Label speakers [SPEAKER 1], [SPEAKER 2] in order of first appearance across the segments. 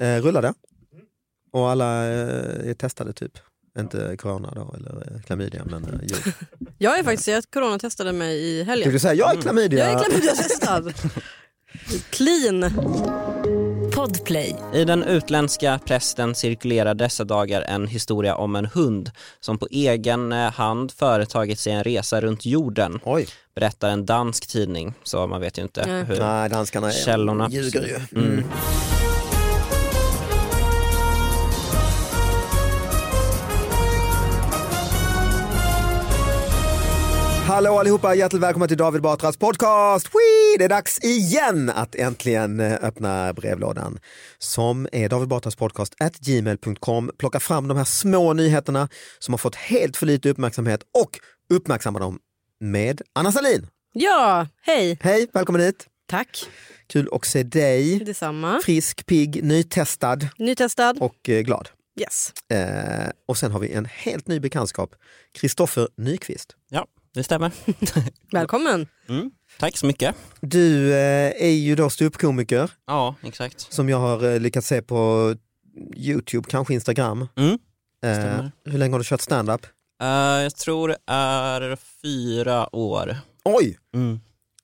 [SPEAKER 1] eh, rullade. Och alla eh, är testade typ. Inte corona då, eller eh, klamydia, men eh, djur.
[SPEAKER 2] Jag är faktiskt, jag coronatestade mig i
[SPEAKER 1] Du
[SPEAKER 2] helgen.
[SPEAKER 1] vill säga, jag är klamydia!
[SPEAKER 2] Jag är klamydiatestad. Clean.
[SPEAKER 3] Podplay.
[SPEAKER 4] I den utländska pressen cirkulerar dessa dagar en historia om en hund som på egen eh, hand företagit sig en resa runt jorden,
[SPEAKER 1] Oj,
[SPEAKER 4] berättar en dansk tidning. Så man vet ju inte
[SPEAKER 2] Nej.
[SPEAKER 4] hur
[SPEAKER 1] nej danskarna är,
[SPEAKER 4] Eh, källorna...
[SPEAKER 1] ljuger ju.
[SPEAKER 4] Mm.
[SPEAKER 1] Hallå allihopa, hjärtligt välkomna till David Batras podcast. Whee! Det är dags igen att äntligen eh, öppna brevlådan som är David Batras podcast at gmail.com. Plocka fram de här små nyheterna som har fått helt för lite uppmärksamhet och uppmärksamma dem med Anna Salin.
[SPEAKER 2] Ja, hej.
[SPEAKER 1] Hej, välkommen hit.
[SPEAKER 2] Tack.
[SPEAKER 1] Kul att se
[SPEAKER 2] Mm.
[SPEAKER 1] dig.
[SPEAKER 2] Detsamma.
[SPEAKER 1] Frisk, pigg, nytestad
[SPEAKER 2] Nytestad.
[SPEAKER 1] och eh, glad.
[SPEAKER 2] Yes.
[SPEAKER 1] Eh, och sen har vi en helt ny bekantskap, Kristoffer Nyqvist.
[SPEAKER 4] Ja, det stämmer.
[SPEAKER 2] Välkommen.
[SPEAKER 4] Mm. Tack så mycket.
[SPEAKER 1] Du eh, är ju då ståuppkomiker
[SPEAKER 4] Ja, exakt.
[SPEAKER 1] som jag har eh, lyckats se på Youtube, kanske Instagram.
[SPEAKER 4] Mm.
[SPEAKER 1] Eh,
[SPEAKER 4] stämmer.
[SPEAKER 1] hur länge har du kört standup?
[SPEAKER 4] Eh, jag tror det är fyra år.
[SPEAKER 1] Oj!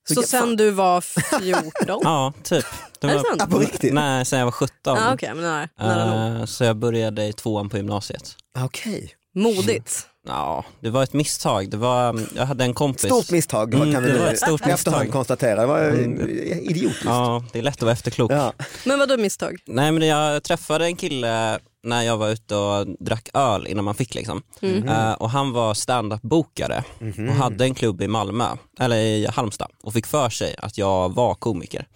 [SPEAKER 2] Så
[SPEAKER 1] Vilken
[SPEAKER 2] sen
[SPEAKER 1] fan.
[SPEAKER 2] du var 14?
[SPEAKER 4] Ja, typ. Det
[SPEAKER 2] Är det
[SPEAKER 4] var-
[SPEAKER 2] sant?
[SPEAKER 1] Ja, på riktigt?
[SPEAKER 4] Nej, sen jag var 17.
[SPEAKER 2] Ah, Okej, men nära, nära nog.
[SPEAKER 4] Eh, så jag började i tvåan på gymnasiet.
[SPEAKER 1] Okej.
[SPEAKER 2] Modigt.
[SPEAKER 4] Ja, det var ett misstag. Det var, mm, jag hade en kompis.
[SPEAKER 1] Stort misstag
[SPEAKER 4] Mm,
[SPEAKER 1] kan vi
[SPEAKER 4] det var
[SPEAKER 1] nu
[SPEAKER 4] ett stort
[SPEAKER 1] efterhand
[SPEAKER 4] misstag. Mm.
[SPEAKER 1] konstatera. Det var eh, idiotiskt.
[SPEAKER 4] Ja, det är lätt att vara efterklok.
[SPEAKER 1] Ja.
[SPEAKER 2] Men vadå misstag?
[SPEAKER 4] Nej men jag träffade en kille när jag var ute och drack öl innan man fick liksom. Eh, och han var standup-bokare
[SPEAKER 1] Mhm.
[SPEAKER 4] och hade en klubb i Malmö, eller i Halmstad och fick för sig att jag var komiker.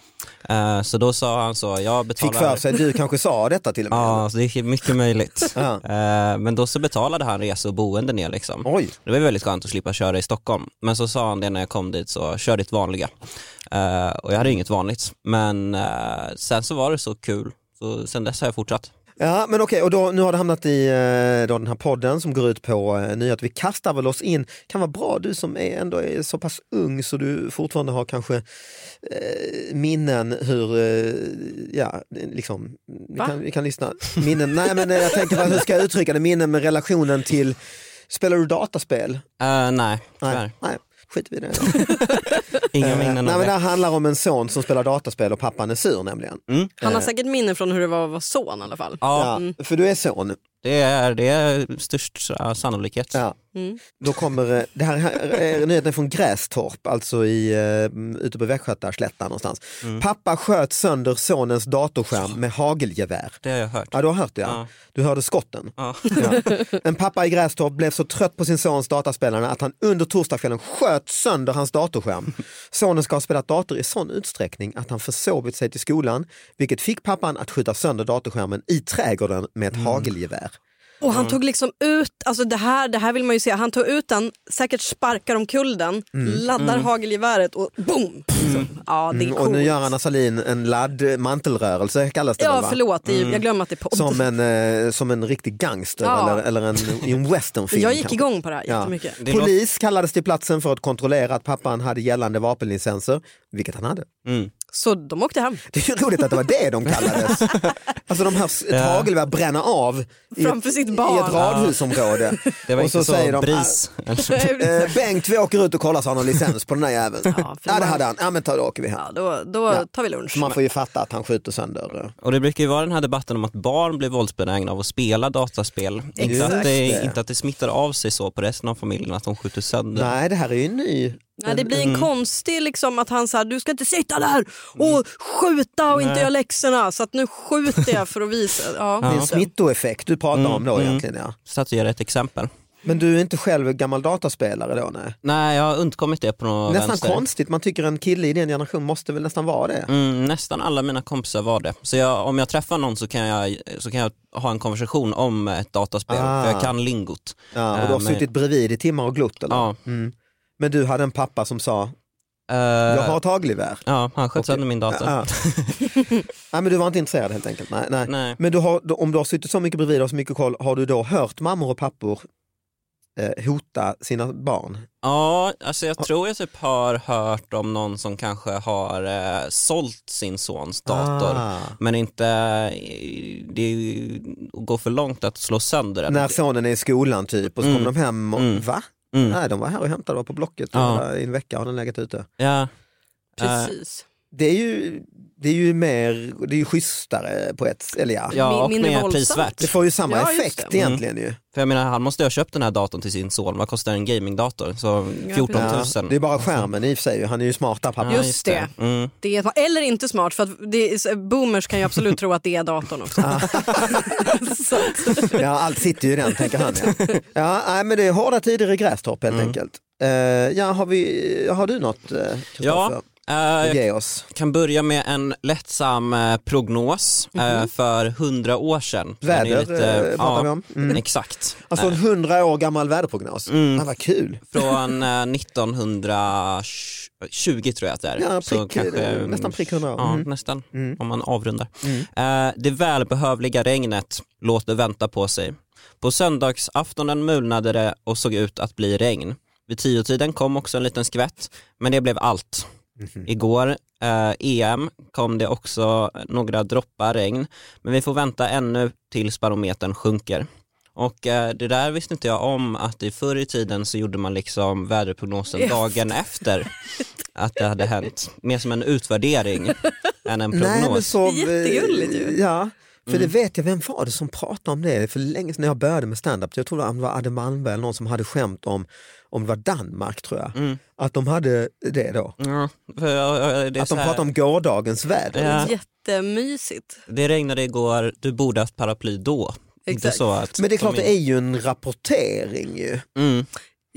[SPEAKER 4] Eh, så då sa han så, jag betalar...
[SPEAKER 1] Fick för sig, du kanske sa detta till och med.
[SPEAKER 4] Ja, så det är mycket möjligt.
[SPEAKER 1] Ja.
[SPEAKER 4] Eh, men då så betalade han resor och boende ner liksom.
[SPEAKER 1] Oj,
[SPEAKER 4] Det var ju väldigt skönt att slippa köra i Stockholm. Men så sa han det när jag kom dit, så kör ditt vanliga. Eh, och jag hade inget vanligt. Men eh, sen så var det så kul, så sen dess har jag fortsatt.
[SPEAKER 1] ja, men okej, och då, nu har det hamnat i eh, då den här podden som går ut på eh, nyheter. Vi kastar väl oss in, kan vara bra du som är, ändå är så pass ung så du fortfarande har kanske eh, minnen hur, eh, ja, liksom, vi
[SPEAKER 2] Va?
[SPEAKER 1] kan, vi kan lyssna. Minnen, nej men eh, jag tänker, vad- hur ska jag uttrycka det, minnen med relationen till, spelar du dataspel?
[SPEAKER 4] Eh, nej, tyvärr.
[SPEAKER 1] nej skit vi i det. då.
[SPEAKER 4] Inga
[SPEAKER 1] Eh, nej, men
[SPEAKER 4] minnen
[SPEAKER 1] det
[SPEAKER 4] av det.
[SPEAKER 1] här handlar om en son som spelar dataspel och pappan är sur nämligen.
[SPEAKER 2] Han har säkert minnen från hur det var att vara son i alla fall.
[SPEAKER 4] Ja,
[SPEAKER 1] Eh. Ja, för du är son.
[SPEAKER 4] det är, det är störst eh, sannolikhet.
[SPEAKER 1] Ja. Då kommer, eh, det här, här är nyheten från Grästorp, alltså i, uh, ute på Västgötaslätten någonstans. Pappa sköt sönder sonens datorskärm med hagelgevär.
[SPEAKER 4] Det har jag hört.
[SPEAKER 1] Ja, du har hört det ja.
[SPEAKER 4] Ja.
[SPEAKER 1] Du hörde skotten.
[SPEAKER 4] Ja.
[SPEAKER 1] Ja. En pappa i Grästorp blev så trött på sin sons dataspelande att han under torsdagskvällen sköt sönder hans datorskärm. Sonen ska ha spelat dator i sån utsträckning att han försovit sig till skolan, vilket fick pappan att skjuta sönder datorskärmen i trädgården med ett hagelgevär.
[SPEAKER 2] Och
[SPEAKER 1] Mm.
[SPEAKER 2] han tog liksom ut, alltså det här, det här vill man ju se, han tog ut den, säkert sparkar omkull den,
[SPEAKER 1] Mm.
[SPEAKER 2] laddar hagelgeväret och boom! Liksom. Ja det är
[SPEAKER 1] Mm, Och nu
[SPEAKER 2] coolt.
[SPEAKER 1] gör Anna Salin en ladd eh, mantelrörelse kallas det väl,
[SPEAKER 2] Ja
[SPEAKER 1] va? Mm.
[SPEAKER 2] förlåt, det är, ju- jag glömmer att det är podd.
[SPEAKER 1] Som en, eh, som en riktig gangster
[SPEAKER 2] Ja.
[SPEAKER 1] eller, eller en, i en westernfilm.
[SPEAKER 2] jag gick
[SPEAKER 1] kanske.
[SPEAKER 2] igång på det här
[SPEAKER 1] Ja.
[SPEAKER 2] jättemycket.
[SPEAKER 4] Det låter-
[SPEAKER 1] Polis kallades till platsen för att kontrollera att pappan hade gällande vapenlicenser, vilket han hade.
[SPEAKER 4] Mm.
[SPEAKER 2] Så de åkte hem
[SPEAKER 1] Det är ju roligt att det var det de kallades. Alltså de här ja. hagelgevär bränna av i,
[SPEAKER 2] framför sitt
[SPEAKER 1] i ett
[SPEAKER 2] barn.
[SPEAKER 1] radhusområde.
[SPEAKER 4] Det var
[SPEAKER 1] Och
[SPEAKER 4] inte så,
[SPEAKER 1] säger de,
[SPEAKER 4] bris.
[SPEAKER 1] "Ah, eh, Bengt, vi åker ut och kollar så han har licens på den där jäveln. Ja,
[SPEAKER 2] Ja, för
[SPEAKER 1] det
[SPEAKER 2] man-
[SPEAKER 1] hade han. Ja men ta, då åker vi hem.
[SPEAKER 2] Ja, då då
[SPEAKER 1] Ja.
[SPEAKER 2] tar vi lunch.
[SPEAKER 1] Man får ju fatta att han skjuter sönder. eh.
[SPEAKER 4] Och det brukar ju vara den här debatten om att barn blir våldsbenägna av att spela dataspel. Inte att, det,
[SPEAKER 1] Exakt.
[SPEAKER 4] inte att det smittar av sig så på resten av familjen att de skjuter sönder.
[SPEAKER 1] Nej det här är ju en ny.
[SPEAKER 2] Nej, det blir en
[SPEAKER 1] Mm.
[SPEAKER 2] konstig liksom att han sa du ska inte sitta där
[SPEAKER 1] Mm.
[SPEAKER 2] och skjuta och inte
[SPEAKER 4] Nej.
[SPEAKER 2] göra läxorna så att nu skjuter jag för att visa. Ja,
[SPEAKER 1] Det är en
[SPEAKER 2] just det.
[SPEAKER 1] smittoeffekt du pratar
[SPEAKER 4] Mm,
[SPEAKER 1] om då
[SPEAKER 4] mm.
[SPEAKER 1] egentligen. Ja.
[SPEAKER 4] Statuera ett exempel.
[SPEAKER 1] Men du är inte själv gammal dataspelare då? Nej.
[SPEAKER 4] Nej, jag har undkommit det på något
[SPEAKER 1] Nästan
[SPEAKER 4] vänster.
[SPEAKER 1] konstigt, man tycker en kille i din generation måste väl nästan vara det.
[SPEAKER 4] Mm, nästan alla mina kompisar var det. Så jag, om jag träffar någon så kan jag, så kan jag ha en konversation om ett dataspel,
[SPEAKER 1] Ah.
[SPEAKER 4] för jag kan lingot.
[SPEAKER 1] Ja, och du
[SPEAKER 4] Äh,
[SPEAKER 1] har
[SPEAKER 4] men-
[SPEAKER 1] suttit bredvid i timmar och glott eller?
[SPEAKER 4] Ja,
[SPEAKER 1] Mm. Men du hade en pappa som sa, jag har ett hagelgevär.
[SPEAKER 4] Eh, ja han
[SPEAKER 1] Okej.
[SPEAKER 4] sköt
[SPEAKER 1] Ah,
[SPEAKER 4] sönder min dator.
[SPEAKER 1] Ja. nej men du var inte intresserad helt enkelt. Nej, nej.
[SPEAKER 4] Nej.
[SPEAKER 1] Men du har, då- om du har suttit så mycket bredvid och så mycket koll, har du då hört mammor och pappor eh, hota sina barn?
[SPEAKER 4] Ja, alltså
[SPEAKER 1] Ah.
[SPEAKER 4] jag tror jag typ har hört om någon som kanske har eh, sålt sin sons dator.
[SPEAKER 1] Ah.
[SPEAKER 4] Men inte eh, det är ju att gå för långt att slå sönder den.
[SPEAKER 1] När sonen är i skolan typ och så kommer de hem och va? Nej, de var här och hämtade var på Blocket och
[SPEAKER 4] Ja.
[SPEAKER 1] var- i en vecka har den legat ute.
[SPEAKER 4] Ja.
[SPEAKER 2] Precis.
[SPEAKER 1] Det är ju, det är ju mer, det är ju schysstare på ett, eller ja,
[SPEAKER 4] Ja, och
[SPEAKER 2] Min- mindre
[SPEAKER 4] mer
[SPEAKER 2] våldsamt.
[SPEAKER 1] det
[SPEAKER 4] prisvärt.
[SPEAKER 1] får ju samma
[SPEAKER 2] Ja, just
[SPEAKER 1] effekt
[SPEAKER 2] det.
[SPEAKER 1] egentligen ju.
[SPEAKER 4] För jag menar, han måste ju ha köpt den här datorn till sin son. Vad kostar en gamingdator? Så 14 000.
[SPEAKER 1] Ja, det är bara skärmen i och för sig, han är ju smart där pappa.
[SPEAKER 4] Ja,
[SPEAKER 2] Just det.
[SPEAKER 4] Mm.
[SPEAKER 2] Det är, eller inte smart, för att det är, boomers kan ju absolut tro att det är datorn också. så att,
[SPEAKER 1] Ja, allt sitter ju i den tänker han. Ja. Ja, nej, men det är hårda tider i Grästorp helt enkelt. Eh, ja, har, vi, har du något eh,
[SPEAKER 4] Ja,
[SPEAKER 1] Kristoffer?
[SPEAKER 4] eh,
[SPEAKER 1] Ge oss.
[SPEAKER 4] kan börja med en lättsam eh, prognos
[SPEAKER 2] Mhm.
[SPEAKER 4] eh, för hundra år sedan. Den är
[SPEAKER 1] Väder, eh, pratar vi om.
[SPEAKER 4] Exakt.
[SPEAKER 1] Alltså en hundra år gammal väderprognos. Mm. vad kul.
[SPEAKER 4] Från eh, 1920 tror jag att det är.
[SPEAKER 1] Ja,
[SPEAKER 4] Så
[SPEAKER 1] prick, eh, nästan prick 100 år.
[SPEAKER 4] Ja,
[SPEAKER 1] Mm.
[SPEAKER 4] nästan, om man avrundar. Eh, det välbehövliga regnet låter vänta på sig. På söndagsaftonen mulnade det och såg ut att bli regn. Vid tiotiden kom också en liten skvätt, men det blev allt.
[SPEAKER 1] Mhm.
[SPEAKER 4] Igår, eh, EM, kom det också några droppar regn, men vi får vänta ännu tills barometern sjunker. Och eh, det där visste inte jag om att i förr i tiden så gjorde man liksom väderprognosen dagen efter att det hade hänt. Mer som en utvärdering än en prognos. Mm.
[SPEAKER 1] Nej, men så,
[SPEAKER 2] Jättegulligt ju.
[SPEAKER 1] Ja. För det vet jag, vem var det som pratade om det för länge sedan när jag började med standup? Jag tror det var Adde Malmberg eller någon som hade skämt om, om det var Danmark tror jag,
[SPEAKER 4] Mm.
[SPEAKER 1] att de hade det då.
[SPEAKER 4] Ja, för, ja, ja, det, är
[SPEAKER 1] Att
[SPEAKER 4] så
[SPEAKER 1] de
[SPEAKER 4] här,
[SPEAKER 1] pratade om gårdagens väder.
[SPEAKER 4] Ja.
[SPEAKER 2] jättemysigt.
[SPEAKER 4] det regnade igår, du borde haft paraply då. Inte
[SPEAKER 2] Exakt.
[SPEAKER 4] så att,
[SPEAKER 1] Men det är klart, det är ju en rapportering ju.
[SPEAKER 4] Mm,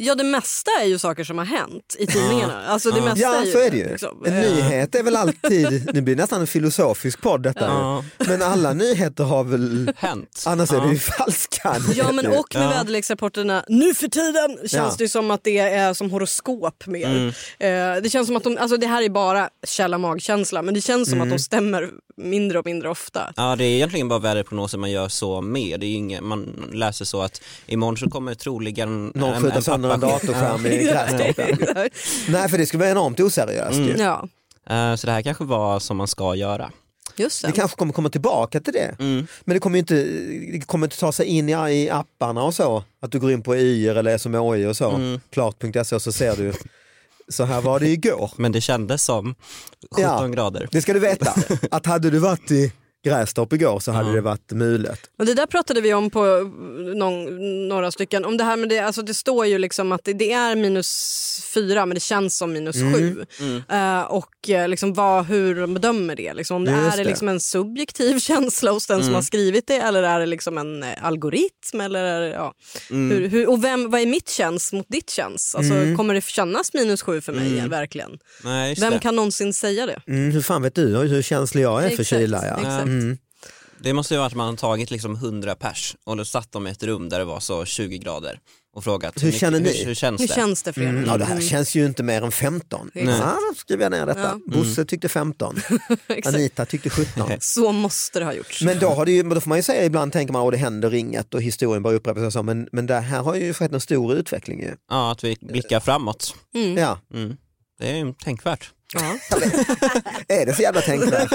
[SPEAKER 2] Ja, det mesta är ju saker som har hänt i tidningarna. Alltså, det mesta
[SPEAKER 1] Ja,
[SPEAKER 2] ju,
[SPEAKER 1] så är det ju.
[SPEAKER 2] liksom,
[SPEAKER 1] En
[SPEAKER 2] eh,
[SPEAKER 1] nyhet är väl alltid, nu blir det nästan en filosofisk podd detta.
[SPEAKER 4] Ja.
[SPEAKER 1] ju. Men alla nyheter har väl,
[SPEAKER 4] hänt.
[SPEAKER 1] annars är
[SPEAKER 4] Ja.
[SPEAKER 1] det ju falska.
[SPEAKER 2] Ja men
[SPEAKER 1] nyheter.
[SPEAKER 2] och med
[SPEAKER 4] Ja.
[SPEAKER 2] väderleksrapporterna nu för tiden känns
[SPEAKER 1] Ja.
[SPEAKER 2] det ju som att det är som horoskop mer. Eh, det känns som att de, alltså det här är bara källa magkänsla men det känns som att de stämmer mindre och mindre ofta.
[SPEAKER 4] Ja det är egentligen bara väderprognoser man gör så med. Det är ju inget, man läser så att imorgon så kommer troligen
[SPEAKER 1] Någon skjuter sönder en
[SPEAKER 4] pappasked.
[SPEAKER 1] datorskärm i Grästorp. Nej för det skulle vara enormt oseriöst ju.
[SPEAKER 2] Mm. Ja,
[SPEAKER 4] Eh, Så det här kanske var som man ska göra.
[SPEAKER 2] just
[SPEAKER 1] Vi
[SPEAKER 2] det.
[SPEAKER 1] kanske kommer komma tillbaka till det.
[SPEAKER 2] Mm.
[SPEAKER 1] Men det kommer ju inte, det kommer inte ta sig in i, i apparna och så. Att du går in på YR eller SMHI och så.
[SPEAKER 2] Mm.
[SPEAKER 1] Klart.se E och så ser du, så här var det igår.
[SPEAKER 4] Men det kändes som 17
[SPEAKER 1] Ja.
[SPEAKER 4] grader.
[SPEAKER 1] Det ska du veta, att hade du varit i Grästorp igår så hade det varit mulet.
[SPEAKER 2] Och det där pratade vi om på eh, någon, några stycken. Om det här med det, alltså det står ju liksom att det, det är minus fyra men det känns som minus
[SPEAKER 1] Mm.
[SPEAKER 2] sju. Eh, och eh, liksom vad, hur de bedömer det. Liksom, om det
[SPEAKER 1] Just
[SPEAKER 2] är det
[SPEAKER 1] det. Mm.
[SPEAKER 2] liksom en subjektiv känsla hos den som har skrivit det eller är det liksom en eh, algoritm? Eller är det, ja.
[SPEAKER 1] Mm.
[SPEAKER 2] hur, hur, och vem, vad är mitt känns mot ditt känns? Alltså, Kommer det kännas minus sju för mig verkligen?
[SPEAKER 4] Nej, just
[SPEAKER 2] Vem
[SPEAKER 4] det.
[SPEAKER 2] kan någonsin säga det?
[SPEAKER 1] Mm, hur fan vet du hur känslig jag är för
[SPEAKER 2] Exakt,
[SPEAKER 1] kyla? Ja. Mm.
[SPEAKER 2] exakt.
[SPEAKER 4] det måste ju vara att man har tagit liksom 100 pers och då satt de i ett rum där det var så 20 grader och frågat
[SPEAKER 1] Hur känner ni?
[SPEAKER 4] Hur, hur känns
[SPEAKER 2] Hur
[SPEAKER 4] det?
[SPEAKER 2] känns det för er?
[SPEAKER 1] Mm, ja, det här känns ju inte mer än 15. Nej.
[SPEAKER 2] Exakt.
[SPEAKER 1] då skriver jag ner detta. Bosse tyckte 15,
[SPEAKER 2] Mm. Exakt.
[SPEAKER 1] Anita tyckte 17.
[SPEAKER 2] Så måste det ha gjorts.
[SPEAKER 1] Men då, har det ju, men då får man ju säga ibland tänker man att det händer inget och historien bara upprepas och så, men, men det här har ju skett en stor utveckling ju.
[SPEAKER 4] Ja, att vi blickar framåt.
[SPEAKER 1] Ja.
[SPEAKER 4] Mm. Det är ju tänkvärt.
[SPEAKER 2] Ja.
[SPEAKER 1] Är det så jävla tänkvärt?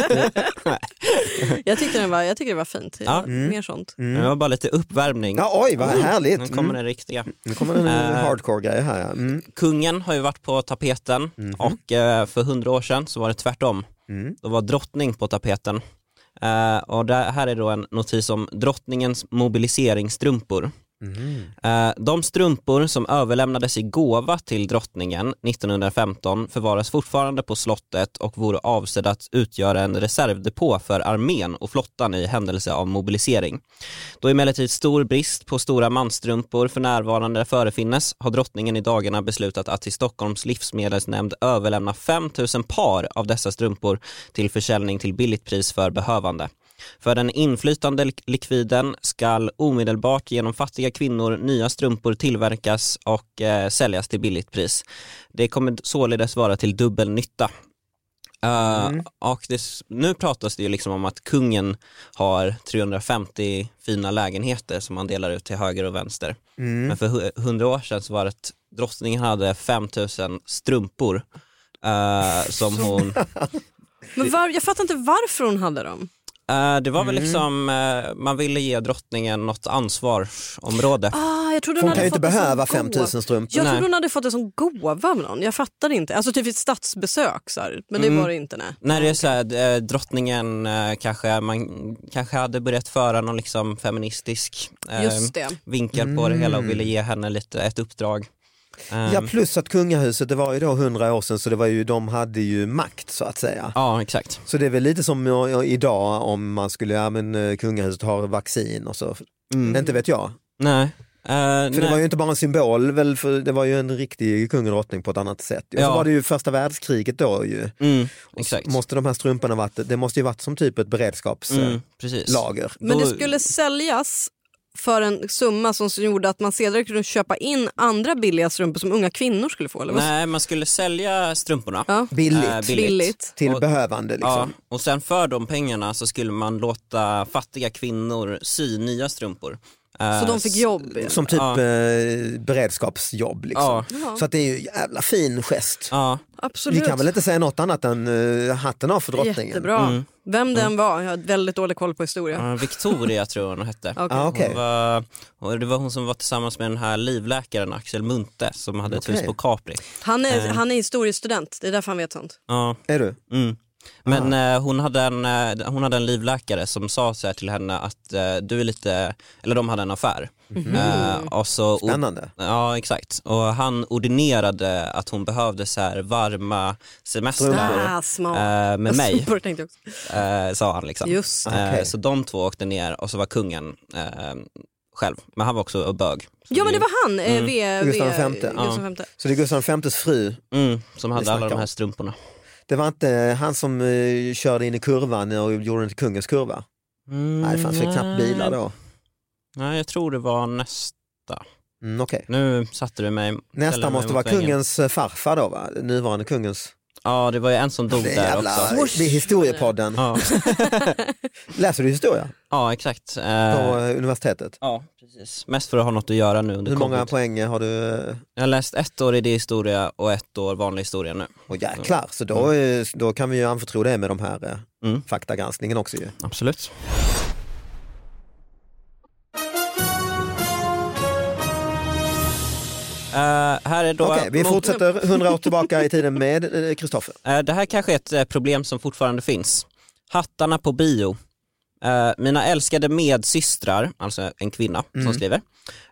[SPEAKER 2] Jag tyckte, den var, jag tyckte det var fint. Jag-
[SPEAKER 1] Mm.
[SPEAKER 2] Mer sånt.
[SPEAKER 4] Det var bara lite uppvärmning.
[SPEAKER 1] Ja, oj vad härligt.
[SPEAKER 4] Nu
[SPEAKER 1] Mm.
[SPEAKER 4] kommer den riktiga.
[SPEAKER 1] Nu kommer en hardcore grej här. Ja. Mm.
[SPEAKER 4] Kungen har ju varit på tapeten
[SPEAKER 1] Mhm.
[SPEAKER 4] och eh, för hundra år sedan så var det tvärtom.
[SPEAKER 1] Mm.
[SPEAKER 4] Då var drottning på tapeten. Eh, och det här är då en notis om drottningens mobiliseringsstrumpor. Eh, de strumpor som överlämnades i gåva till drottningen 1915 förvaras fortfarande på slottet och vore avsedda att utgöra en reservdepå för armén och flottan i händelse av mobilisering. Då emellertid stor brist på stora mansstrumpor för närvarande förefinnes har drottningen i dagarna beslutat att till Stockholms livsmedelsnämnd överlämna 5000 par av dessa strumpor till försäljning till billigt pris för behövande. För den inflytande lik- likviden skall omedelbart genom fattiga kvinnor nya strumpor tillverkas och eh, säljas till billigt pris. Det kommer således vara till dubbel nytta. Eh, och det, s- nu pratas det ju liksom om att kungen har 350 fina lägenheter som han delar ut till höger och vänster. Men för hu- 100 år sedan så var det att drottningen hade 5000 strumpor eh, som hon
[SPEAKER 2] Men var, jag fattar inte varför hon hade dem.
[SPEAKER 4] Eh, det var
[SPEAKER 2] Mm.
[SPEAKER 4] väl liksom, eh, man ville ge drottningen något ansvarsområde.
[SPEAKER 2] Ah, jag trodde
[SPEAKER 1] Hon
[SPEAKER 2] hade
[SPEAKER 1] kan ju inte
[SPEAKER 2] fått det som
[SPEAKER 1] behöva
[SPEAKER 2] gåva.
[SPEAKER 1] 5000 strumpor.
[SPEAKER 2] Jag
[SPEAKER 4] Nej.
[SPEAKER 2] trodde hon hade fått det som gåva av någon. Jag fattar inte. Alltså typ ett statsbesök så här. men det
[SPEAKER 1] Mm.
[SPEAKER 2] var det inte. Nej.
[SPEAKER 4] När det är så här, eh, drottningen eh, kanske, man kanske hade börjat föra någon liksom feministisk eh,
[SPEAKER 2] Just det. Mm.
[SPEAKER 4] vinkel på det hela och ville ge henne lite ett uppdrag. Eh,
[SPEAKER 1] Ja plus att kungahuset det var ju då 100 år sedan så det var ju, de hade ju makt så att säga.
[SPEAKER 4] Ja exakt.
[SPEAKER 1] Så det är väl lite som jag- jag- idag om man skulle, ja men eh, kungahuset har vaccin och så. Inte vet jag.
[SPEAKER 4] Nej. Eh,
[SPEAKER 1] För det
[SPEAKER 4] nej.
[SPEAKER 1] var ju inte bara en symbol, väl, för det var ju en riktig kung och drottning på ett annat sätt. Och så
[SPEAKER 4] Ja.
[SPEAKER 1] var det ju första världskriget då ju.
[SPEAKER 4] Mm, exakt.
[SPEAKER 1] Måste de här strumporna varit, det måste ju varit som typ ett beredskapslager.
[SPEAKER 4] Mm, precis.
[SPEAKER 2] Men det
[SPEAKER 4] Då-
[SPEAKER 2] skulle säljas för en summa som gjorde att man senare kunde köpa in andra billiga strumpor som unga kvinnor skulle få. Eller? vad?
[SPEAKER 4] Nej, man skulle sälja strumporna.
[SPEAKER 2] Ja.
[SPEAKER 1] Billigt
[SPEAKER 4] Eh, billigt.
[SPEAKER 2] Billigt.
[SPEAKER 1] till
[SPEAKER 4] Och-
[SPEAKER 1] behövande
[SPEAKER 4] Ja,
[SPEAKER 1] liksom.
[SPEAKER 4] och sen för de pengarna så skulle man låta fattiga kvinnor sy nya strumpor. Eh,
[SPEAKER 1] Äh,
[SPEAKER 2] Så de fick jobb. igen.
[SPEAKER 1] Som typ
[SPEAKER 4] Ja.
[SPEAKER 1] eh, beredskapsjobb. Liksom.
[SPEAKER 4] Ja.
[SPEAKER 2] Ja.
[SPEAKER 1] Så att det är ju en jävla fin gest.
[SPEAKER 4] Ja,
[SPEAKER 1] Vi
[SPEAKER 2] Absolut.
[SPEAKER 1] kan väl inte säga något annat än eh, hatten av för drottningen.
[SPEAKER 2] Jättebra.
[SPEAKER 1] Mm.
[SPEAKER 2] Vem den var, jag har väldigt dålig koll på historia.
[SPEAKER 4] eh, Victoria tror jag hon hette.
[SPEAKER 2] Okej.
[SPEAKER 1] Ah, okej.
[SPEAKER 4] Hon var, och det var hon som var tillsammans med den här livläkaren Axel Munthe som hade ett hus
[SPEAKER 1] Okej.
[SPEAKER 4] på Capri.
[SPEAKER 2] Han, är,
[SPEAKER 1] Mm.
[SPEAKER 2] han är historiestudent, det är därför han vet sånt.
[SPEAKER 4] Ja,
[SPEAKER 1] Är du?
[SPEAKER 4] mm. Men
[SPEAKER 1] Ah.
[SPEAKER 4] eh, hon, hade en, eh, hon hade en livläkare som sa så här till henne att eh, du är lite, eller de hade en affär. Eh, och så, och,
[SPEAKER 1] Mhm. Spännande.
[SPEAKER 4] Ja exakt, och han ordinerade att hon behövde så här varma semestrar
[SPEAKER 2] Ah, smart.
[SPEAKER 4] eh, med mig,
[SPEAKER 2] Super, tänkte jag också.
[SPEAKER 4] eh, sa han. Liksom.
[SPEAKER 2] Just det.
[SPEAKER 4] Eh,
[SPEAKER 1] Okej.
[SPEAKER 4] Så de två åkte ner och så var kungen eh, själv, men han var också bög. Så
[SPEAKER 2] Ja men det var han, eh, v, v,
[SPEAKER 1] Mm. Gustav V.
[SPEAKER 2] Gustav
[SPEAKER 4] Ja.
[SPEAKER 2] V.
[SPEAKER 1] Så det är Gustav V's fru,
[SPEAKER 4] Mm, som
[SPEAKER 1] Vi
[SPEAKER 4] hade
[SPEAKER 1] snackar
[SPEAKER 4] alla de
[SPEAKER 1] om.
[SPEAKER 4] här strumporna.
[SPEAKER 1] det var inte han som eh, körde in i kurvan och gjorde den till kungens kurva?
[SPEAKER 4] Mm,
[SPEAKER 1] Nej, det fanns väl knappt bilar då.
[SPEAKER 4] Nej, jag tror det var nästa.
[SPEAKER 1] Mm, okej.
[SPEAKER 4] Nu satte du mig. ställde
[SPEAKER 1] Nästa
[SPEAKER 4] mig
[SPEAKER 1] måste
[SPEAKER 4] mot
[SPEAKER 1] vara
[SPEAKER 4] väggen.
[SPEAKER 1] kungens eh, farfar då va? Nuvarande kungens.
[SPEAKER 4] Ja, det var ju en som dog
[SPEAKER 1] Det är,
[SPEAKER 4] där
[SPEAKER 1] jävla,
[SPEAKER 4] också.
[SPEAKER 1] det är historiepodden.
[SPEAKER 4] Ja,
[SPEAKER 1] Läser du historia
[SPEAKER 4] ja exakt.
[SPEAKER 1] på
[SPEAKER 4] Eh,
[SPEAKER 1] eh, universitetet?
[SPEAKER 4] ja, precis. Mest för att ha något att göra nu under
[SPEAKER 1] Hur många
[SPEAKER 4] covid.
[SPEAKER 1] poäng har du? eh,
[SPEAKER 4] Jag har läst ett år idéhistoria och ett år vanlig historia nu.
[SPEAKER 1] Åh jäklar, så då, eh, då kan vi ju anförtro det med de här eh,
[SPEAKER 4] Mm.
[SPEAKER 1] faktagranskningen också ju.
[SPEAKER 4] Absolut. Eh, här är då
[SPEAKER 1] Okej, vi
[SPEAKER 4] mot-
[SPEAKER 1] fortsätter 100 år tillbaka i tiden med eh, Kristoffer.
[SPEAKER 4] Eh, Det här kanske är ett eh, problem som fortfarande finns. Hattarna på bio. Eh, Mina älskade medsystrar, alltså en kvinna
[SPEAKER 1] Mm.
[SPEAKER 4] som skriver.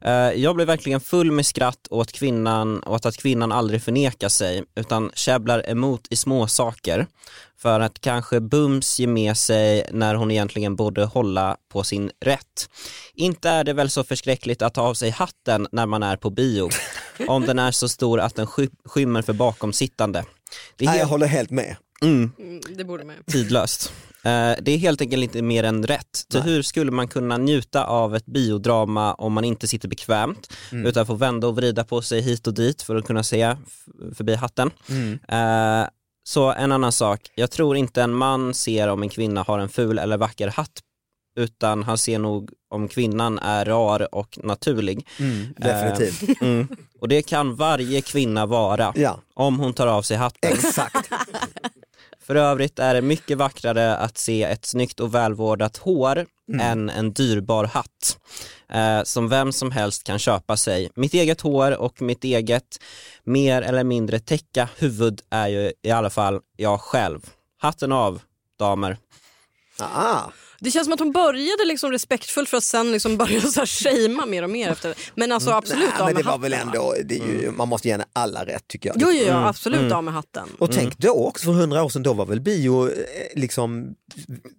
[SPEAKER 4] Eh, Jag blev verkligen full med skratt åt kvinnan, åt att kvinnan aldrig förnekar sig utan käbblar emot i små saker för att kanske bums ge med sig när hon egentligen borde hålla på sin rätt. Inte är det väl så förskräckligt att ta av sig hatten när man är på bio om den är så stor att den sky- skymmer för bakomsittande. Det är
[SPEAKER 1] Nej,
[SPEAKER 4] helt-
[SPEAKER 1] jag håller helt med.
[SPEAKER 2] Mm, Det borde man ju.
[SPEAKER 4] tidlöst. Eh, Det är helt enkelt inte mer än rätt. Så hur skulle man kunna njuta av ett biodrama om man inte sitter bekvämt utan får vända och vrida på sig hit och dit för att kunna se f- förbi hatten?
[SPEAKER 1] Mm,
[SPEAKER 4] Eh, Så en annan sak, jag tror inte en man ser om en kvinna har en ful eller vacker hatt utan han ser nog om kvinnan är rar och naturlig.
[SPEAKER 1] Mm, definitivt.
[SPEAKER 4] Mm. Och det kan varje kvinna vara
[SPEAKER 1] Ja,
[SPEAKER 4] om hon tar av sig hatten.
[SPEAKER 1] exakt.
[SPEAKER 4] För övrigt är det mycket vackrare att se ett snyggt och välvårdat hår än en dyrbar hatt eh, som vem som helst kan köpa sig. Mitt eget hår och mitt eget mer eller mindre täcka huvud är ju i alla fall jag själv. Hatten av, damer.
[SPEAKER 1] Ah,
[SPEAKER 2] Det känns som att hon började liksom respektfullt för att sen liksom börja så här shamea mer och mer efter det. Men alltså absolut
[SPEAKER 1] Mm. nej,
[SPEAKER 2] av
[SPEAKER 1] men
[SPEAKER 2] med
[SPEAKER 1] det var
[SPEAKER 2] hatten.
[SPEAKER 1] väl
[SPEAKER 2] va?
[SPEAKER 1] ändå, det är ju,
[SPEAKER 4] Mm.
[SPEAKER 1] man måste ge henne alla rätt tycker jag.
[SPEAKER 2] Jo, jo, jo absolut av med hatten.
[SPEAKER 1] Mm. Och tänk då också för hundra år sedan, då var väl bio eh, liksom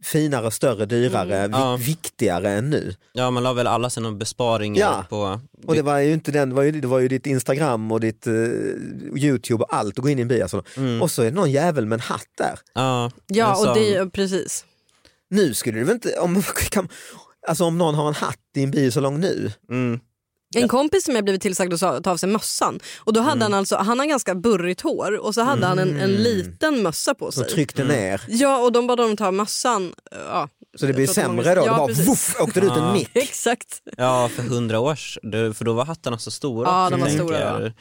[SPEAKER 1] finare, större, dyrare,
[SPEAKER 2] Mm,
[SPEAKER 1] vi,
[SPEAKER 4] Ja.
[SPEAKER 1] viktigare än nu.
[SPEAKER 4] Ja, man la väl alla sina besparingar
[SPEAKER 1] Ja.
[SPEAKER 4] på...
[SPEAKER 1] Och det var ju inte den, det var ju, det var ju ditt Instagram och ditt eh, Youtube och allt, och gå in i en bio. och så.
[SPEAKER 2] Mm.
[SPEAKER 1] Och så är det någon jävel med en hatt där.
[SPEAKER 4] Ja,
[SPEAKER 2] Ja,
[SPEAKER 4] alltså,
[SPEAKER 2] och det, precis.
[SPEAKER 1] Nu skulle du väl inte, om, kan, alltså om någon har en hatt i en biosalong nu,
[SPEAKER 4] Mm,
[SPEAKER 2] En kompis som jag blivit tillsagd att sa- ta av sig mössan. Och då hade
[SPEAKER 1] Mm.
[SPEAKER 2] han alltså, han har ganska burrigt hår och så hade han en, en liten mössa på
[SPEAKER 1] som
[SPEAKER 2] sig.
[SPEAKER 1] tryckte ner,
[SPEAKER 2] Ja, och de bad honom ta av mössan. Ja,
[SPEAKER 1] så det blir
[SPEAKER 2] Mm. Jag tror
[SPEAKER 1] sämre
[SPEAKER 2] att man-
[SPEAKER 1] då,
[SPEAKER 2] Ja,
[SPEAKER 1] det bara
[SPEAKER 2] precis. Ah.
[SPEAKER 1] voff, åkte det ut en
[SPEAKER 4] Ja.
[SPEAKER 1] nick.
[SPEAKER 2] exakt.
[SPEAKER 4] ja, för hundra år s- du- för då var hattarna så stora. Mm.
[SPEAKER 2] Ja,
[SPEAKER 4] också,
[SPEAKER 2] de var
[SPEAKER 4] tänker
[SPEAKER 2] stora,
[SPEAKER 4] jag.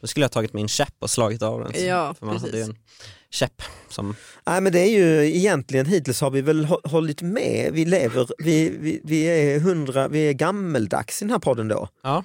[SPEAKER 4] Då skulle jag tagit min käpp och slagit av den.
[SPEAKER 2] Ja,
[SPEAKER 4] för man hade
[SPEAKER 2] precis.
[SPEAKER 4] ju en käpp. Som,
[SPEAKER 1] Nej men det är ju egentligen hittills har vi väl hå- hållit med. Vi lever, vi, vi, vi är hundra, vi är gammeldags i den här podden då.
[SPEAKER 4] ja.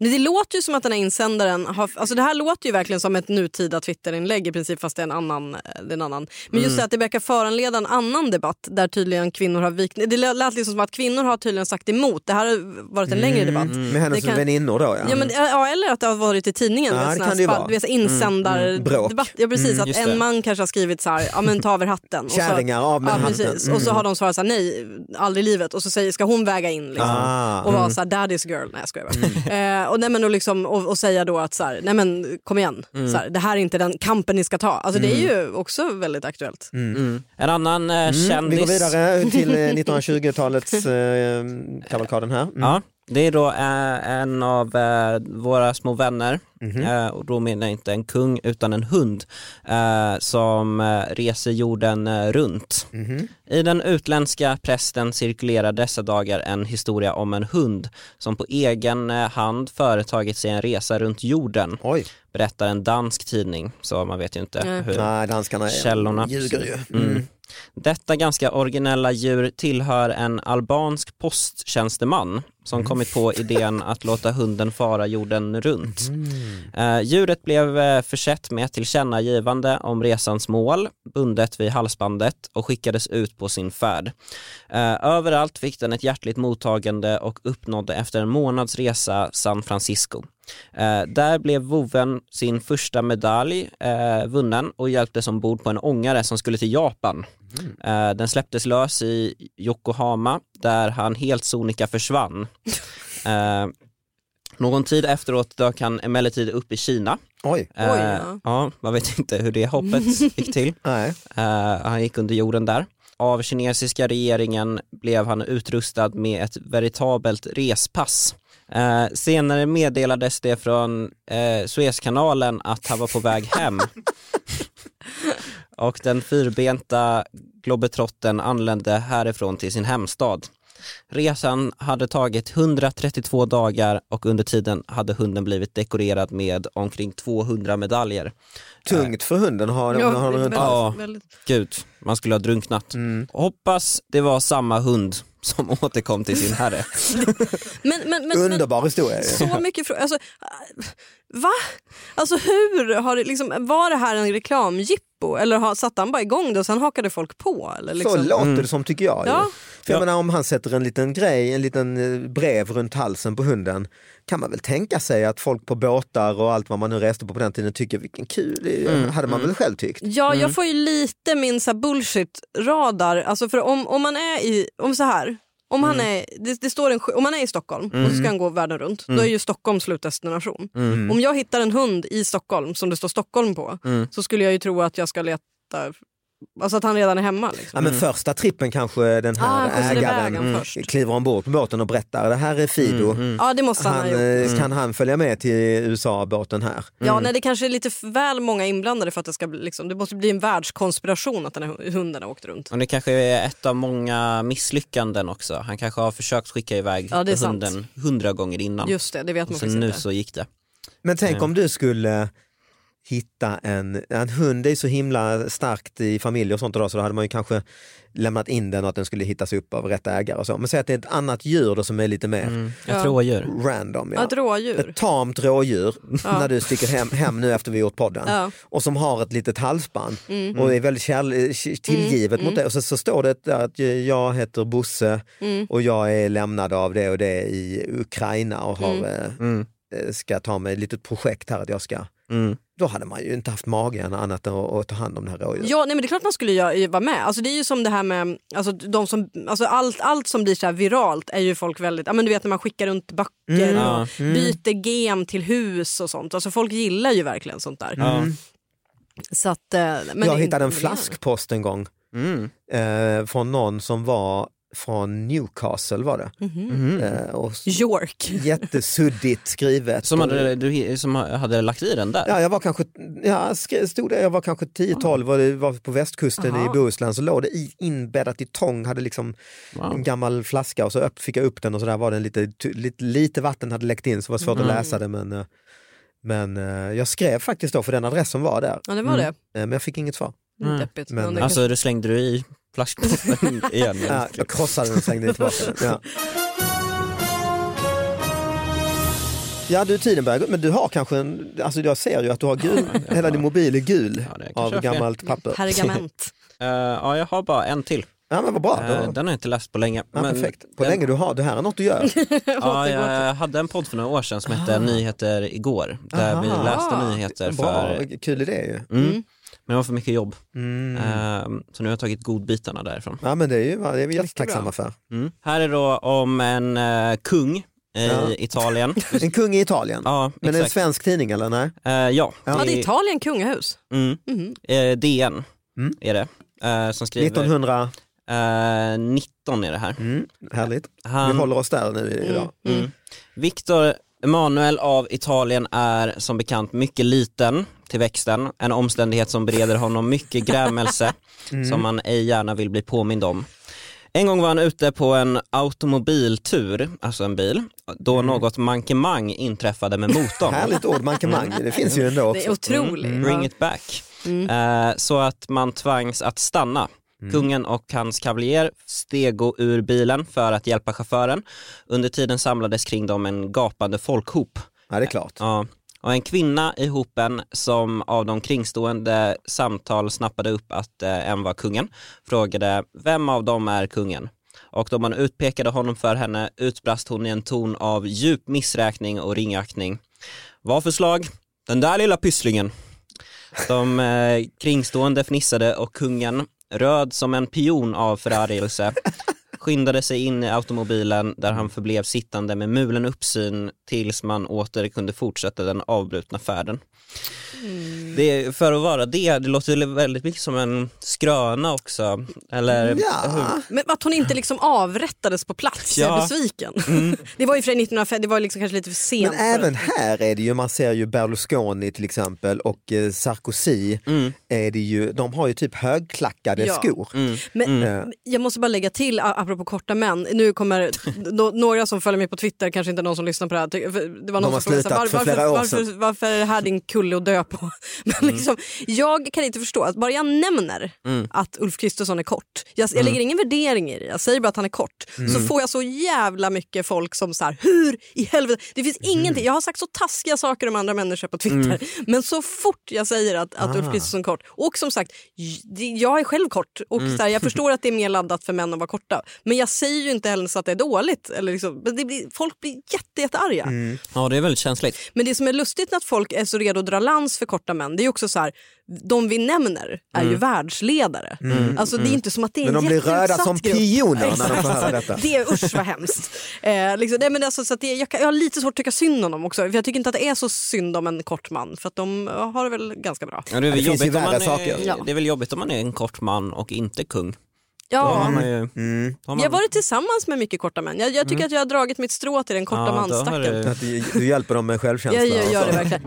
[SPEAKER 2] Men det låter ju som att den här insändaren har, alltså det här låter ju verkligen som ett nutida Twitterinlägg i princip fast det är en annan. eh, Det är en annan. Men just det att det verkar föranleda en annan debatt där tydligen kvinnor har vikt, det lät liksom som att kvinnor har tydligen sagt emot, det här har varit en
[SPEAKER 1] Mm.
[SPEAKER 2] längre debatt.
[SPEAKER 1] Med hennes
[SPEAKER 2] Det kan-
[SPEAKER 1] väninnor då
[SPEAKER 2] Ja, men, ja, eller att det har varit i tidningen.
[SPEAKER 1] Ja,
[SPEAKER 2] du
[SPEAKER 1] det
[SPEAKER 2] vet, sån
[SPEAKER 1] kan
[SPEAKER 2] här
[SPEAKER 1] det ju
[SPEAKER 2] spalt-
[SPEAKER 1] vara. Mm.
[SPEAKER 2] du vet, så insändardebatt.
[SPEAKER 1] Bråk. Mm,
[SPEAKER 2] ja, precis. att
[SPEAKER 4] just
[SPEAKER 2] en
[SPEAKER 4] det.
[SPEAKER 2] man kanske har skrivit så här, ja men ta över hatten. Och så-
[SPEAKER 1] Kärringar, av med
[SPEAKER 2] ja,
[SPEAKER 1] handen.
[SPEAKER 2] precis. Och så har de svarat så här, nej, aldrig i livet. Och så säger, ska hon väga in liksom.
[SPEAKER 1] Ah, Mm.
[SPEAKER 2] och vara så här, daddy's girl. Nej jag skojar bara. Eh, och, nej, men, och, liksom, och, och säga då att så här, nej men kom igen,
[SPEAKER 1] Mm.
[SPEAKER 2] så här, det här är inte den kampen ni ska ta. Alltså det är ju också väldigt aktuellt.
[SPEAKER 1] Mm.
[SPEAKER 4] En annan eh,
[SPEAKER 1] Vi går
[SPEAKER 4] kändis.
[SPEAKER 1] vidare till eh, 1920-talets eh, kavalkaden här. Mm.
[SPEAKER 4] Ja, det är då eh, en av eh, våra små vänner,
[SPEAKER 1] Mhm.
[SPEAKER 4] eh, och då menar jag inte en kung utan en hund, eh, som eh, reser jorden eh, runt.
[SPEAKER 1] Mhm.
[SPEAKER 4] I den utländska pressen cirkulerar dessa dagar en historia om en hund som på egen eh, hand företagit sig en resa runt jorden,
[SPEAKER 1] Oj,
[SPEAKER 4] berättar en dansk tidning, så man vet ju inte
[SPEAKER 2] Nej.
[SPEAKER 4] hur
[SPEAKER 1] nej danskarna är-
[SPEAKER 4] källorna.
[SPEAKER 1] ljuger ju.
[SPEAKER 4] Mm. Detta ganska originella djur tillhör en albansk posttjänsteman som kommit på idén att låta hunden fara jorden runt. Eh, djuret blev eh, försett med ett tillkännagivande om resans mål, bundet vid halsbandet och skickades ut på sin färd. Eh, överallt fick den ett hjärtligt mottagande och uppnådde efter en månads resa San Francisco. Eh, där blev voven sin första medalj eh, vunnen och hjälptes ombord på en ångare som skulle till Japan.
[SPEAKER 2] Mm.
[SPEAKER 4] Eh, den släpptes lös i Yokohama där han helt sonika försvann. Eh, någon tid efteråt dök han emellertid upp i Kina.
[SPEAKER 1] Oj,
[SPEAKER 4] Eh,
[SPEAKER 2] Oj, ja.
[SPEAKER 4] ja, man vet inte hur det hoppet gick till.
[SPEAKER 1] nej.
[SPEAKER 4] Eh, han gick under jorden där. Av kinesiska regeringen blev han utrustad med ett veritabelt respass. Eh, senare meddelades det från eh, Suezkanalen att han var på väg hem. Och den fyrbenta globetrotten anlände härifrån till sin hemstad. Resan hade tagit 132 dagar och under tiden hade hunden blivit dekorerad med omkring 200 medaljer.
[SPEAKER 1] Tungt för hunden har de, har de runt
[SPEAKER 2] väldigt,
[SPEAKER 1] halsen.
[SPEAKER 4] Ja.
[SPEAKER 2] väldigt.
[SPEAKER 4] Gud, man skulle ha drunknat.
[SPEAKER 1] Mm.
[SPEAKER 4] Hoppas det var samma hund som återkom till sin herre.
[SPEAKER 2] Men, men, men, men,
[SPEAKER 1] Underbar historia. ju.
[SPEAKER 2] så mycket frågor. Alltså, äh, va? Alltså hur har det liksom, var det här en reklamjippo eller har, satte han bara igång det och sen hakade folk på? Eller liksom?
[SPEAKER 1] Så låter det som tycker jag. ju.
[SPEAKER 2] Ja.
[SPEAKER 1] För jag
[SPEAKER 4] Ja.
[SPEAKER 1] menar om han sätter en liten grej, en liten eh, brev runt halsen på hunden kan man väl tänka sig att folk på båtar och allt vad man nu reste på på den tiden tycker vilken kul, det hade man väl själv tyckt.
[SPEAKER 2] Ja, jag får ju lite min så här bullshit-radar. Alltså för om, om man är i, om så här, om
[SPEAKER 1] Mm.
[SPEAKER 2] han är, det, det står en, sk- om man är i Stockholm och så ska han gå världen runt,
[SPEAKER 1] Mm.
[SPEAKER 2] då är ju Stockholm slutdestination. Om jag hittar en hund i Stockholm som det står Stockholm på
[SPEAKER 1] Mm.
[SPEAKER 2] så skulle jag ju tro att jag ska leta, alltså att han redan är hemma. Liksom.
[SPEAKER 1] Ja, men första trippen kanske den
[SPEAKER 2] Ah,
[SPEAKER 1] här
[SPEAKER 2] han skjutsade iväg
[SPEAKER 1] ägaren mm,
[SPEAKER 2] han först. Mm,
[SPEAKER 1] kliver ombord på båten och berättar det här är Fido,
[SPEAKER 2] Ja, det måste han,
[SPEAKER 1] Mm. han,
[SPEAKER 2] ha gjort.
[SPEAKER 1] eh, kan han följa med till USA-båten här?
[SPEAKER 2] Ja, nej, det kanske är lite väl många inblandade för att det ska bli, liksom, det måste bli en världskonspiration att den här hunden har åkt runt.
[SPEAKER 4] Och det kanske är ett av många misslyckanden också. Han kanske har försökt skicka iväg
[SPEAKER 2] Ja, det är sant.
[SPEAKER 4] hunden hundra gånger innan.
[SPEAKER 2] Just det, det vet man
[SPEAKER 4] och så
[SPEAKER 2] faktiskt
[SPEAKER 4] nu
[SPEAKER 2] inte.
[SPEAKER 4] så gick det.
[SPEAKER 1] Men tänk om du skulle eh, hitta en, en hund är ju så himla starkt i familjer och sånt idag så då hade man ju kanske lämnat in den och att den skulle hittas upp av rätt ägare och så. Men säg att det är ett annat djur då som är lite mer
[SPEAKER 4] Ett
[SPEAKER 2] Ja.
[SPEAKER 4] rådjur.
[SPEAKER 1] random.
[SPEAKER 2] Mm. Ja,
[SPEAKER 1] Ja.
[SPEAKER 2] ett rådjur.
[SPEAKER 1] Ett tamt rådjur när du sticker hem, hem nu efter vi gjort podden
[SPEAKER 2] Ja. Mm.
[SPEAKER 1] och som har ett litet halsband och är väldigt kärle- k- tillgivet mot det. Och så, så står det där att eh, jag heter Bosse
[SPEAKER 2] Mm.
[SPEAKER 1] och jag är lämnad av det och det i Ukraina och
[SPEAKER 2] Mm.
[SPEAKER 1] har, eh, eh, ska ta mig ett litet projekt här att jag ska
[SPEAKER 4] Mm.
[SPEAKER 1] då hade man ju inte haft magen annat än att, att ta hand om det här rådjuret.
[SPEAKER 2] Ja, nej, men det är klart man skulle göra, vara med. Alltså, det är ju som det här med, alltså, de som, alltså, allt, allt som blir så här viralt är ju folk väldigt, ja, men du vet när man skickar runt böcker
[SPEAKER 4] Ja.
[SPEAKER 2] och byter gem till hus och sånt. Alltså, folk gillar ju verkligen sånt där.
[SPEAKER 4] Mm.
[SPEAKER 2] Så att, eh, men
[SPEAKER 1] jag
[SPEAKER 2] det är
[SPEAKER 1] hittade en
[SPEAKER 2] inte-
[SPEAKER 1] flaskpost en gång
[SPEAKER 4] Mm.
[SPEAKER 1] eh, från någon som var från Newcastle var det.
[SPEAKER 2] Mhm.
[SPEAKER 1] Eh, och s-
[SPEAKER 2] York.
[SPEAKER 1] jättesuddigt skrivet.
[SPEAKER 4] Som, hade, du, som hade lagt i den där.
[SPEAKER 1] Ja, jag var kanske, ja, skri- stod det, jag var kanske 10-12 och det var på västkusten
[SPEAKER 2] Aha.
[SPEAKER 1] i Bohuslän så låg det i, inbäddat i tång, hade liksom en
[SPEAKER 4] Wow.
[SPEAKER 1] gammal flaska och så upp, fick jag upp den och så där var den lite, tu- lite, lite vatten hade läckt in så det var
[SPEAKER 4] Mm.
[SPEAKER 1] svårt att läsa det men, eh, men eh, jag skrev faktiskt då för den adressen var där
[SPEAKER 2] Ja, det var det.
[SPEAKER 1] eh, men jag fick inget svar.
[SPEAKER 2] Det är deppigt.
[SPEAKER 1] Men-
[SPEAKER 2] Men, det
[SPEAKER 4] Alltså du slängde du i plastpåsen igen?
[SPEAKER 1] Ja, jag krossade den och slängde den tillbaka den. Ja. Ja du Tidenberg, men du har kanske en, alltså jag ser ju att du har gul, hela din mobil är gul
[SPEAKER 4] Ja, det kanske
[SPEAKER 1] av
[SPEAKER 4] är fel.
[SPEAKER 1] gammalt papper.
[SPEAKER 2] kanske- Pergament.
[SPEAKER 4] Eh, ja, jag har bara en till.
[SPEAKER 1] Ja men vad bra,
[SPEAKER 4] Eh,
[SPEAKER 1] då,
[SPEAKER 4] den har jag inte läst på länge.
[SPEAKER 1] ja, perfekt. På
[SPEAKER 4] den-
[SPEAKER 1] länge du har, det här är något du gör.
[SPEAKER 4] Ja, jag hade en podd för några år sedan som hette Nyheter igår. Där vi
[SPEAKER 1] Ah. Aha. Ah,
[SPEAKER 4] läste nyheter
[SPEAKER 1] Bra,
[SPEAKER 4] för...
[SPEAKER 1] kul idé ju.
[SPEAKER 4] Mm. Men det var för mycket jobb.
[SPEAKER 1] Mm.
[SPEAKER 4] Eh, så nu har jag tagit godbitarna därifrån.
[SPEAKER 1] Ja men det är ju, det är vi jättetacksamma för.
[SPEAKER 4] Mm. Här är då om en eh, kung i
[SPEAKER 1] Ja.
[SPEAKER 4] Italien.
[SPEAKER 1] En kung i Italien.
[SPEAKER 4] Ja,
[SPEAKER 1] Men är det en
[SPEAKER 4] exakt.
[SPEAKER 1] svensk tidning eller? Nej?
[SPEAKER 4] Eh, ja,
[SPEAKER 2] Ja, det är
[SPEAKER 4] i-
[SPEAKER 2] Italien, kungahus.
[SPEAKER 4] mm.
[SPEAKER 2] Mhm.
[SPEAKER 4] Eh, DN
[SPEAKER 1] Mm.
[SPEAKER 4] är det. eh, som skriver...
[SPEAKER 1] 1900,
[SPEAKER 4] eh, 19 är det här.
[SPEAKER 1] mm, härligt. Vi
[SPEAKER 4] Han,
[SPEAKER 1] håller oss där nu i- idag.
[SPEAKER 4] Um, mm. Victor Emanuel av Italien är som bekant mycket liten till växten, en omständighet som bereder honom mycket grämelse som man ej gärna vill bli påmind om. En gång var han ute på en automobiltur, alltså en bil, då något mankemang inträffade med motorn.
[SPEAKER 1] Härligt ord,
[SPEAKER 4] Mm.
[SPEAKER 1] mankemang, det finns ju ändå
[SPEAKER 2] Det är
[SPEAKER 1] också.
[SPEAKER 2] otroligt.
[SPEAKER 4] Bring it back. Eh, så att man tvangs att stanna. Kungen och hans kavaljer stego ur bilen för att hjälpa chauffören. Under tiden samlades kring dem en gapande folkhop.
[SPEAKER 1] Ja det är klart.
[SPEAKER 4] Ja. Och en kvinna i hopen som av de kringstående samtal snappade upp att eh, en var kungen frågade vem av dem är kungen? Och då man utpekade honom för henne utbrast hon i en ton av djup missräkning och ringaktning. Vad för slag? Den där lilla pysslingen. De eh, kringstående fnissade och kungen, röd som en pion av förargelse, skyndade sig in i automobilen där han förblev sittande med mulen uppsyn tills man åter kunde fortsätta den avbrutna färden. Det, för att vara det, det låter ju väldigt mycket som en skröna också. Eller,
[SPEAKER 1] Ja,
[SPEAKER 2] Men att hon inte liksom avrättades på plats, jag är
[SPEAKER 4] Ja.
[SPEAKER 2] besviken. Det var ju för 1905, det var liksom kanske lite för sent.
[SPEAKER 1] Mm. men
[SPEAKER 2] för-
[SPEAKER 1] även här är det ju, man ser ju Berlusconi till exempel och eh, Sarkozy, är det ju, de har ju typ högklackade
[SPEAKER 2] Mm. Ja. Mm.
[SPEAKER 1] skor.
[SPEAKER 2] Men
[SPEAKER 1] Mm.
[SPEAKER 2] jag måste bara lägga till, a- apropå korta män, nu kommer nå- några som följer mig på Twitter, kanske inte någon som lyssnar på det här. ty- för Det var
[SPEAKER 1] De
[SPEAKER 2] någon
[SPEAKER 1] har
[SPEAKER 2] som frågade
[SPEAKER 1] slutat
[SPEAKER 2] så
[SPEAKER 1] för
[SPEAKER 2] här,
[SPEAKER 1] flera
[SPEAKER 2] varför,
[SPEAKER 1] år
[SPEAKER 2] varför, varför är det här din kulle att dö på? Men liksom, jag kan inte förstå, att bara jag nämner att Ulf Kristersson är kort, jag, jag lägger ingen värdering i det, jag säger bara att han är kort, så får jag så jävla mycket folk som så här, hur i helvete, det finns ingenting, jag har sagt så taskiga saker om andra människor på Twitter, men så fort jag säger att, att Ulf Kristersson är kort, och som sagt, j- det- jag är själv kort och så här, jag förstår att det är mer laddat för män att vara korta, men jag säger ju inte heller så att det är dåligt, eller liksom, men det blir, folk blir jätte, jättearga.
[SPEAKER 4] ja, det är väldigt känsligt.
[SPEAKER 2] Men det som är lustigt att folk är så redo att dra lans för korta män, det är ju också så här, de vi nämner är ju världsledare. Alltså det är inte som att det är
[SPEAKER 1] Mm. Men
[SPEAKER 2] en
[SPEAKER 1] de blir röda
[SPEAKER 2] jätteutsatt
[SPEAKER 1] som
[SPEAKER 2] grupp.
[SPEAKER 1] pioner när de
[SPEAKER 2] Exakt.
[SPEAKER 1] får höra detta.
[SPEAKER 2] Det är usch vad hemskt. Eh, liksom, nej, men alltså, så att det, jag, kan, jag har lite svårt att tycka synd om dem också, för jag tycker inte att det är så synd om en kort man, för att de har det väl ganska bra.
[SPEAKER 4] Ja, det, är väl
[SPEAKER 1] Det finns ju
[SPEAKER 4] jobbigt om
[SPEAKER 1] värre
[SPEAKER 4] man
[SPEAKER 1] saker.
[SPEAKER 4] är,
[SPEAKER 2] Ja.
[SPEAKER 4] det är väl jobbigt om man är en kort man och inte kung. Då
[SPEAKER 2] Ja.
[SPEAKER 4] har man ju, då har man,
[SPEAKER 2] Jag har varit tillsammans med mycket korta män. Jag, jag tycker att jag har dragit mitt strå till den korta
[SPEAKER 4] Mm. Ja, då har
[SPEAKER 2] manstacken.
[SPEAKER 4] det-
[SPEAKER 1] Att du, du hjälper dem med självkänsla.
[SPEAKER 2] Jag, jag
[SPEAKER 1] och
[SPEAKER 2] gör
[SPEAKER 1] så.
[SPEAKER 2] det verkligen.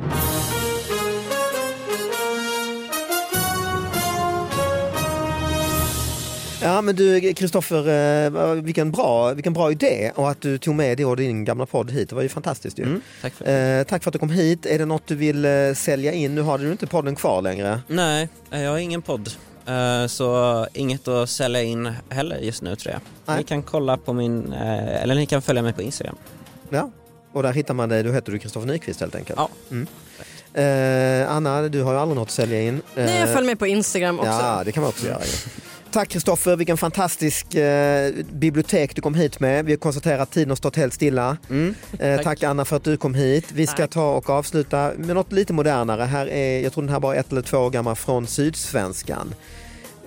[SPEAKER 1] Ja men du Kristoffer, eh, vilken bra, vilken bra idé och att du tog med det och din gamla podd hit, det var ju fantastiskt ju.
[SPEAKER 2] Mm.
[SPEAKER 4] tack för det.
[SPEAKER 1] Eh, tack för att du kom hit, är det något du vill eh, sälja in? Nu har du inte podden kvar längre.
[SPEAKER 4] Nej, jag har ingen podd. eh, Så inget att sälja in heller just nu tror jag.
[SPEAKER 1] Nej.
[SPEAKER 4] Ni kan kolla på min, eh, eller ni kan följa mig på Instagram.
[SPEAKER 1] Ja. Och där hittar man dig, då heter du Kristoffer Nyqvist helt enkelt.
[SPEAKER 4] Ja.
[SPEAKER 1] Mm. Eh, Anna, du har ju aldrig något att sälja in.
[SPEAKER 2] Nej,
[SPEAKER 1] Eh,
[SPEAKER 2] jag följer med på Instagram också.
[SPEAKER 1] Ja, det kan man också göra. ju. Tack Kristoffer, vilken fantastisk eh, bibliotek du kom hit med. Vi har konstaterat att tiden har stått helt stilla.
[SPEAKER 4] Mm.
[SPEAKER 1] Eh, tack. Anna för att du kom hit. Vi ska ta och avsluta med något lite modernare. Här är, jag tror den här bara är ett eller två år gammal, från Sydsvenskan.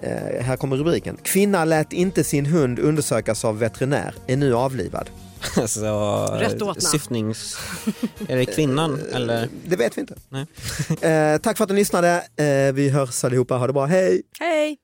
[SPEAKER 1] Eh, här kommer rubriken. Kvinna lät inte sin hund undersökas av veterinär, är nu avlivad.
[SPEAKER 4] Så,
[SPEAKER 2] Rätt åtna.
[SPEAKER 4] syftnings... Är det kvinnan Mm, eller?
[SPEAKER 1] Eh, Det vet vi inte.
[SPEAKER 4] Nej.
[SPEAKER 1] Eh, tack för att ni lyssnade. Eh, vi hörs allihopa, ha det bra, hej!
[SPEAKER 2] Hej!